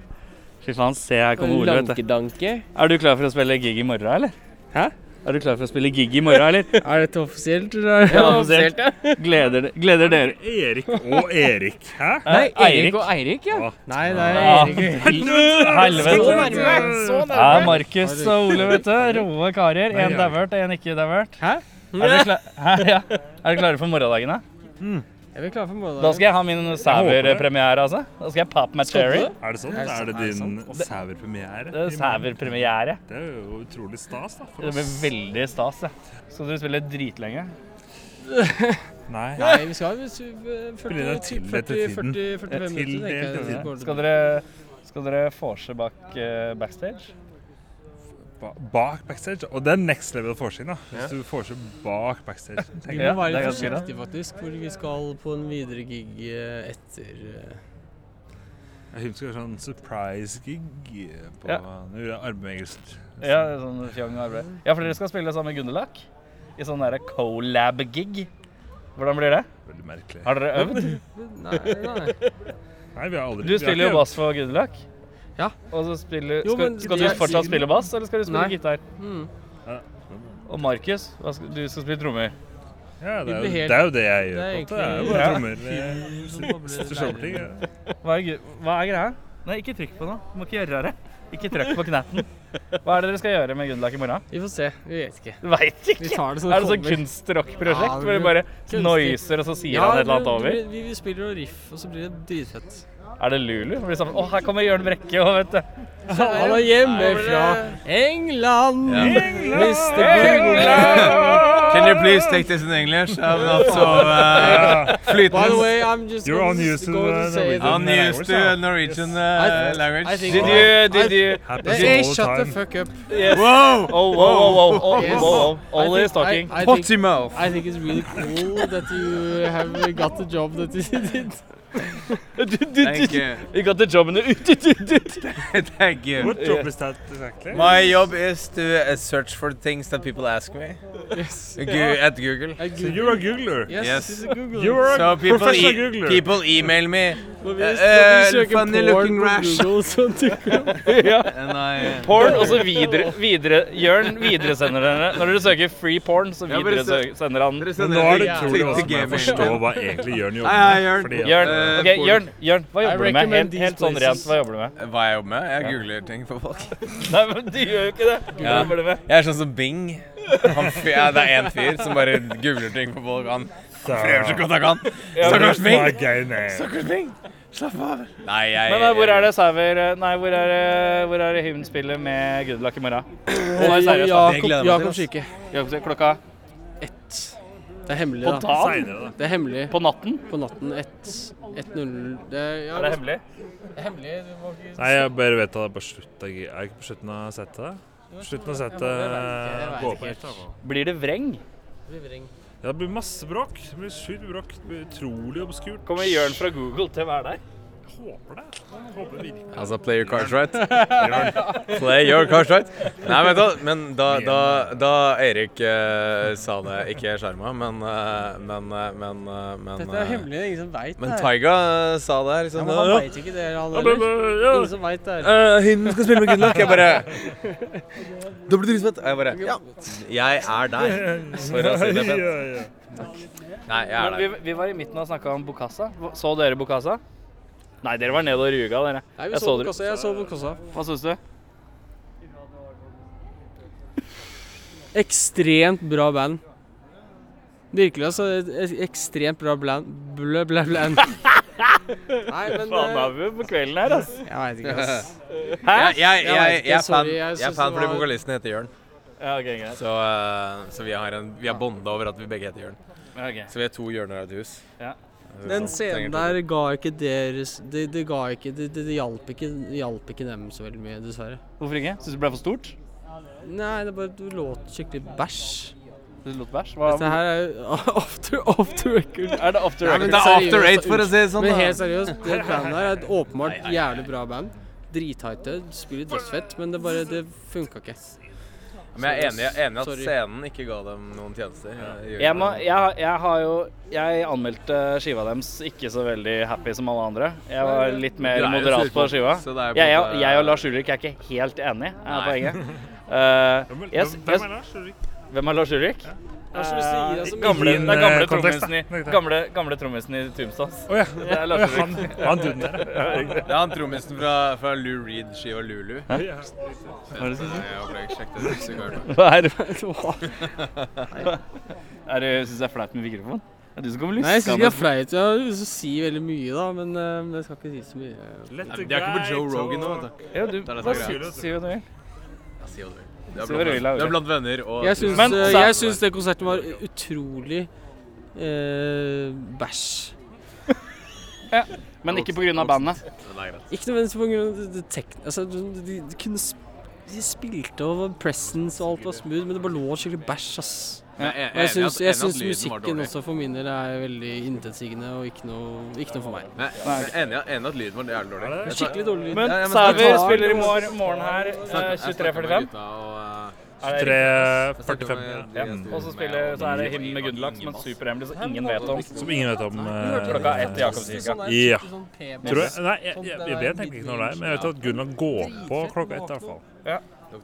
S1: Fy faen, se her kommer Ole, vet du.
S2: Lankedanke.
S1: Er du klar for å spille gig i morgen, eller?
S2: Hæ?
S1: Er du klar for å spille gig i morgen, eller?
S2: Er dette offisielt? eller?
S1: Ja, offisielt. Gleder, gleder dere Eh, Erik og Erik. Hæ?
S6: Nei, Erik og Eirik, ja.
S2: Nei, nei.
S1: Ah. [LAUGHS] Helvete.
S6: Så
S1: Det er Markus og Ole, vet du. Roe karer. En dauert, en ikke dauert. Hæ? Er dere kla- [LAUGHS] Hæ, ja. Er dere klare for morgendagen, da?
S2: Er vi klare for
S1: Da
S2: morgendagen?
S1: skal jeg ha min Sæver-premiere, altså. Da skal jeg pop my cherry.
S11: Er det sånn? Er det din Sæver-premiere?
S1: Det er Sæver-premiere.
S11: Det er jo utrolig stas, da. For
S1: Det blir
S11: oss.
S1: veldig stas. Ja. Skal dere spille dritlenge?
S11: Nei.
S2: Nei, vi eh, skal ha 40,
S11: Blir det
S2: 40,
S11: tildelt til
S2: 40,
S11: tiden?
S2: 40 45 minutter.
S11: Tildelt
S2: tenker
S11: til
S2: jeg.
S1: Skal dere, skal dere forse bak eh, backstage?
S11: Ba- Bak backstage. Og det er next level forsyn, da. Hvis du får seg bak backstage.
S2: Vi
S11: tenker
S2: må
S1: Ja, det er
S2: være litt
S1: ganske greit.
S2: forsiktige, faktisk, hvor vi skal på en videre gig eh, etter eh,
S11: Jeg husker det var sånn surprise-gig på
S1: Ja.
S11: Nå gjør jeg armbevegelser.
S1: Ja, det er sånn fjong arbeid. Ja, for dere skal spille sammen med Gunderlach i sånn derre colab-gig. Hvordan blir det?
S11: Veldig merkelig.
S1: Har dere øvd?
S2: Nei, nei.
S11: Nei, vi har aldri
S1: Du
S11: vi har
S1: spiller
S11: ikke-
S1: jo bass for Gunderlach.
S2: Ja.
S1: Og så spiller,
S2: Jo,
S1: skal,
S2: men
S1: skal
S2: jeg-
S1: du fortsatt spille bass, eller skal du spille
S2: Nei.
S1: gitar?
S2: Mm.
S1: Og Markus, hva skal, du skal spille trommer.
S11: Ja, det er,
S2: Vi
S11: jo,
S2: blir helt-
S11: det er jo det jeg
S2: Det er
S11: gjør. på en måte. Det er jo
S2: egentlig-
S11: bare
S1: Ja.
S11: trommer. eh, Sitter sommertid. ja.
S1: Hva er, gre- hva er greia? Nei, ikke trykk på noe. Du må ikke gjøre det. Ikke trykk på knatten. [LAUGHS] Hva er det dere skal gjøre med Gunderlach i morgen?
S2: Vi får se. Vi vet ikke.
S1: Du veit
S2: Vi
S1: ikke!
S2: tar det som
S1: Er det sånn
S2: kommer.
S1: kunstrock-prosjekt
S2: Ja,
S1: hvor
S2: det
S1: du
S2: blir
S1: bare
S2: kunstig.
S1: noiser, og så sier han et eller annet over?
S2: Vi, vi, vi spiller og riff, og så blir det dritfett.
S1: Er det Lulu? Blir det sånn, Å, her kommer Jørn Brekke og vet du.
S2: Han er hjemme fra eh, England. Mr.
S6: Can you please take this in English? I'm not so uh,
S2: By the
S6: fluent.
S2: way, I'm just
S11: You're
S2: gonna
S11: unused to
S2: go
S11: the
S2: to say that.
S11: Norwegian.
S6: I'm used to Norwegian uh, language.
S2: I think-
S1: Did you, did you
S11: Happens
S2: Hey,
S11: all the
S2: shut the
S11: time.
S2: fuck up.
S1: yes. Wow! Oh, wow, wow, wow. Oh,
S2: Yes.
S1: wow, wow. Ollie
S2: I
S1: is
S2: think- I-
S1: talking.
S2: I think-
S6: Potty mouth.
S2: I think it's really cool that you have got the job that you
S1: [LAUGHS]
S2: did.
S6: Thank you.
S1: You got the job in the
S6: Thank you.
S11: What job is that exactly?
S6: My job is to uh, search for things that people ask me
S2: Yes.
S6: Gu- at Google.
S2: I
S11: So
S2: Googled.
S11: you're a googler.
S2: yes,
S6: Yes.
S2: this is Google.
S11: You are
S6: So
S11: a
S6: people,
S11: professional
S6: e
S11: googler.
S6: people email me
S2: Når vi,
S6: Eh,
S2: når vi
S6: eh,
S2: søker
S6: funny
S2: porn
S6: looking
S2: på
S6: rash.
S2: Google, så dukker det opp.
S6: and I uh,
S1: Porn, og [LAUGHS] så videre, videre Jørn videresender dere. Når dere søker free porn, så
S6: Ja, bare se-
S1: videresender han.
S11: Men nå er det
S6: Yeah.
S11: utrolig
S6: Til- til
S11: vanskelig å
S6: gaming.
S11: forstå hva egentlig
S6: [LAUGHS]
S11: Jørn jobber
S6: Hei, hei, Jørn.
S11: Fordi at- uh,
S1: Jørn,
S6: Eh,
S1: ok,
S6: porn.
S1: Jørn, Jørn, hva
S2: I
S1: jobber du med?
S2: recommend
S1: Helt,
S2: these
S1: helt sånn
S2: places.
S1: rent, hva jobber du med?
S6: Hva jeg jobber med? Jeg googler ting for folk.
S1: Nei, men du gjør jo ikke det. Hva
S6: Ja.
S1: jobber du med?
S6: Jeg er sånn som Bing. Han fyr, ja, det er én fyr som bare googler ting for folk. Han prøver så godt han kan. Stakkars Bing.
S11: My gay name.
S6: Stakkars Bing. Slapp av. Nei, jeg
S1: Men eh, hvor er det Sæver Nei, hvor er det, hvor er det Hymn spiller med Gunderlach i morgen? Å, nei, seriøst. da.
S6: gleder jeg
S2: Jakob,
S6: meg til,
S2: Jakob
S6: ass.
S2: Kirke.
S1: Jakob sier Klokka
S2: ett. Det er hemmelig,
S12: På
S2: da.
S12: dagen? Senere, da.
S2: Det er hemmelig.
S12: På natten?
S2: På natten. Ett, ett null det, ja,
S12: Er det hemmelig?
S2: Det er hemmelig. Du må ikke
S11: Nei, jeg bare vet at det er på slutt av gi- Er det ikke på slutten av settet? På slutten av settet eh,
S2: Jeg vet ikke, jeg
S11: gå
S2: vet
S11: på
S2: ikke helt.
S11: helt, da.
S1: Blir det vreng?
S11: Ja, det blir masse bråk. Det blir sjukt bråk. Det blir utrolig obskurt.
S1: Kommer Jørn fra Google til å være der?
S11: Håper det. Jeg Håper virkelig.
S7: Altså, play your cards right.
S11: Bjørn.
S7: play your cards right. Nei, men da, men da, da, da Erik eh, sa det, ikke Sjarma, men, eh, men, eh, men, eh, men
S2: Dette er
S7: eh,
S2: hemmelig, det er ingen som vet
S7: Men
S2: det her.
S7: Taiga eh, sa det her.
S2: Ja,
S7: Liksom,
S2: men han
S7: ja,
S2: vet ikke det, han
S7: Ja, men,
S2: heller.
S7: ja.
S2: Ingen som vet det her.
S7: Eh, hun skal spille med Gunnlach. Jeg bare [LAUGHS] Da blir du rismet. Jeg bare Ja. Jeg er der. For å si det pent. Nei, jeg er
S1: Men
S7: der.
S1: vi, vi var i midten og snakka om Bokassa. Hva- Så dere Bokassa? Nei, dere var nede og ruga, dere.
S2: Nei, vi
S1: Jeg
S2: så
S1: dere-
S2: på kassa. Jeg så på kassa.
S1: Hva syns du?
S2: Ekstremt bra band. Virkelig, altså. et- et Ekstremt bra bland. Blø, blø, blø. Nei, men eh,
S1: Faen, da er vi på kvelden her, ass.
S2: Jeg vet ikke, ass.
S1: Hæ?
S7: Jeg, jeg,
S2: Jeg
S7: jeg,
S2: vet ikke,
S7: jeg er
S2: sorry,
S7: fan,
S2: jeg
S7: jeg er
S2: synes
S7: fan
S2: det
S7: fordi
S2: var-
S7: vokalisten heter Jørn.
S1: Ja, ok, greit.
S7: Så, eh, så vi har, en- vi har bonda over at vi begge heter Jørn.
S1: Ja, ok.
S7: Så vi er to hjørner av et hus. sånn
S2: Den scenen der ga ikke deres Det, det ga ikke Det, det, det hjalp ikke, det hjalp ikke dem så veldig mye, dessverre.
S1: Hvorfor ikke? Syns du det ble for stort?
S2: Nei, det bare du låt skikkelig bæsj.
S1: Det låt bæsj?
S2: Dette her er jo [LAUGHS] off to, off to record.
S1: Er det off to
S2: Nei,
S1: record?
S2: men
S1: Det er off to
S2: seriøst,
S1: rate, for å si det sånn,
S2: Men
S1: da.
S2: helt
S1: [LAUGHS]
S2: seriøst, det bandet her er et åpenbart jævlig bra band. Drithighte, spiller dødsfett, men det bare Det funka ikke.
S7: Men jeg er enig, jeg er enig at
S2: Sorry.
S7: scenen ikke ga dem noen tjenester. Jeg,
S1: Jeg, må, jeg, jeg har jo Jeg anmeldte skiva deres ikke så veldig happy som alle andre. Jeg var litt mer
S7: Du er jo
S1: moderat på
S7: surfer,
S1: skiva.
S7: så det er på
S1: Jeg,
S7: en
S1: jeg,
S7: måte-
S1: jeg og Lars Ulrik er ikke helt enige, er
S7: Nei. [LAUGHS]
S1: poenget. Eh,
S11: Hvem-
S1: jeg-
S11: hvem-
S1: jeg-
S11: hvem er Lars Ulrik?
S1: Hvem er Lars Ulrik?
S11: Lars Ulrik sier
S2: altså,
S11: det
S1: Eh,
S11: som-
S1: gamle,
S11: Din,
S1: det er gamle
S11: eh, kontekst,
S1: trommisen
S11: da.
S1: i,
S11: Nei, det er-
S1: gamle, gamle trommisen i Tombstones.
S11: Å ja.
S1: Det er
S11: Å ja,
S1: Lars
S11: han-
S1: Ulrik.
S11: han duden der, ja. Ja,
S7: Det er han trommisen fra, fra Lou Reed, skiva Lulu.
S1: Hæ?
S7: Hva
S1: Hva er det du sier? Hva er
S7: sier?
S1: det? Er det Syns du det er flaut med mikrofon? Det er du som kommer
S2: Nei, jeg syns
S1: luskende.
S2: ikke det er flaut. Jeg har lyst til å si veldig mye, da, men eh, jeg skal ikke si så mye.
S11: Let
S7: the De er ikke på guy Joe Rogan nå, vet du.
S1: Ja, du,
S7: Det er det
S1: bare
S7: som er
S1: si
S7: greia.
S1: si hva du vil.
S7: Ja, si hva du vil. Du
S1: Si hva du
S7: er
S1: vil,
S7: blant-
S1: Laure.
S7: du er blant venner og
S2: Jeg syns,
S1: Men-
S2: eh,
S1: så-
S2: jeg syns det konserten var utrolig eh, bæsj.
S1: Ja, men ikke på grunn av bandet.
S2: Ikke nødvendigvis på grunn av det- det tekn... Altså, de, de, de kunne sp de spilte over presence og alt var smooth, men det bare lå skikkelig bæsj, ass.
S7: Ja, jeg- jeg er
S2: Og jeg
S7: enig at-
S2: syns, jeg
S7: enig at
S2: syns
S7: lyden var
S2: musikken
S7: dårlig.
S2: også for min del er veldig intetsigende og ikke noe, ikke noe for meg.
S7: Nei, jeg er enig, enig at lyden var jævlig dårlig. Jeg sa-
S2: Skikkelig dårlig lyd.
S1: Men
S7: Ja, ja,
S1: Sæver
S7: snakk-
S1: spiller i mor- morgen her eh,
S7: Jeg snakket- jeg snakket
S1: 23.45.
S7: med gutta og, eh,
S1: Er det riktig?
S11: 23.45, ja.
S1: Ja. Og så spiller så er det him med Gunderlach som en superhemmelig som liksom ingen vet om.
S11: Som ingen vet om. eh,
S1: Klokka ett i Jakobsvika.
S11: Ja. Tror jeg, nei, jeg, jeg, jeg vet egentlig ikke når det er, men jeg vet at Gunnar går på klokka ett i hvert fall.
S1: Ja.
S11: Vi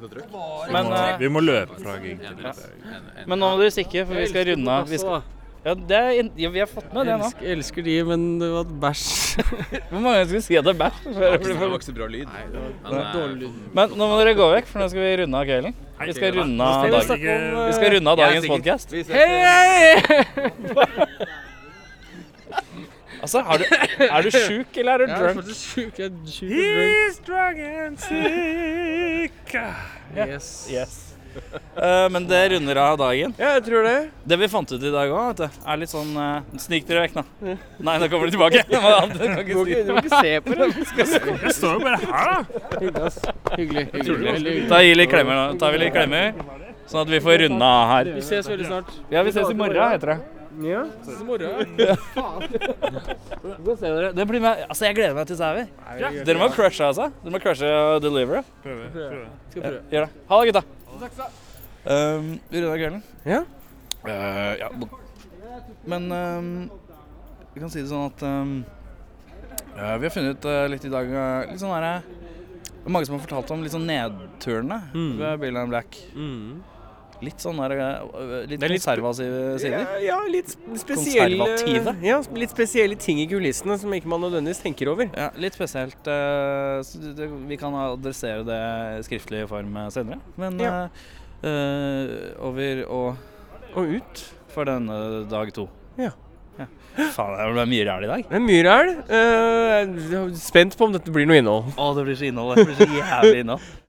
S1: Men,
S11: må,
S1: eh,
S11: vi må løpe fra gig til
S1: Ja.
S11: litt.
S1: Men nå må dere stikke, for vi skal runde av. Vi skal- Ja, det er, in- ja, vi har fått med det
S2: Jeg
S1: nå.
S2: elsker, jeg elsker de, men det var et bæsj. [LAUGHS]
S1: Hvor mange ganger skal vi si at det er bæsj? [LAUGHS]
S7: Det var ikke- det var ikke så bra lyd.
S2: det var dårlig lyd.
S1: Men nå må dere gå vekk, for nå skal vi runde av kvelden. Vi skal runde av, dag. vi
S2: eh,
S1: skal runde av dagens podcast.
S2: Hei,
S1: [LAUGHS] Altså, har du, er du sjuk, eller er du
S2: Jeg er
S1: drunk?
S2: faktisk sjuk. Jeg er sjuk og drunk.
S11: He's drunk and sick.
S2: Yes.
S1: Yes. Eh, men det runder av dagen.
S13: Ja, jeg tror det.
S1: Det vi fant ut i dag òg, er litt sånn eh, Snik dere vekk, da. Nei, nå kommer de tilbake. Det var annet, jeg
S2: Du må ikke- du må ikke se på det.
S11: [LAUGHS] Jeg står jo bare her, da.
S2: Hyggelig, ass. Hyggelig. hyggelig. Veldig hyggelig.
S1: Da gir vi litt klemmer, da. Tar vi litt klemmer, sånn at vi får runda av her.
S2: Vi ses veldig snart.
S1: Ja, vi ses i morgen, heter det.
S2: Ja, ses
S1: [LAUGHS]
S2: i morgen.
S1: det blir med. Altså, jeg gleder meg til Sæver. Dere må crushe, altså. Dere må crushe og delivere.
S11: Prøver, prøver.
S2: Skal prøve.
S1: Gjør det. Ha det, gutta. Um, vi runder av kvelden.
S2: Ja.
S1: Eh, ja. bo- Men ehm, vi kan si det sånn at ehm, eh, vi har funnet ut eh, litt i dag eh, Litt sånn her eh, Det er mange som har fortalt om litt sånn nedturene
S2: Mm.
S1: ved Bill and Black.
S11: Mm.
S1: Litt sånn der eh, eh, Litt konservative sider.
S13: Ja, litt sp- spesielle
S1: Konservative?
S13: Ja, sp- litt spesielle ting i kulissene som ikke man nødvendigvis tenker over.
S1: Ja, litt spesielt. eh, så det- det- vi kan adressere det i skriftlig form eh, senere. Men
S13: Ja.
S1: eh, eh, over og
S13: Og ut.
S1: for denne dag to.
S13: Ja.
S1: ja. Faen, det ble mye ræl i dag.
S13: Det er Myhrel. eh, jeg er spent på om dette blir noe innhold.
S1: Å, det blir så innhold. Det blir så jævlig innhold.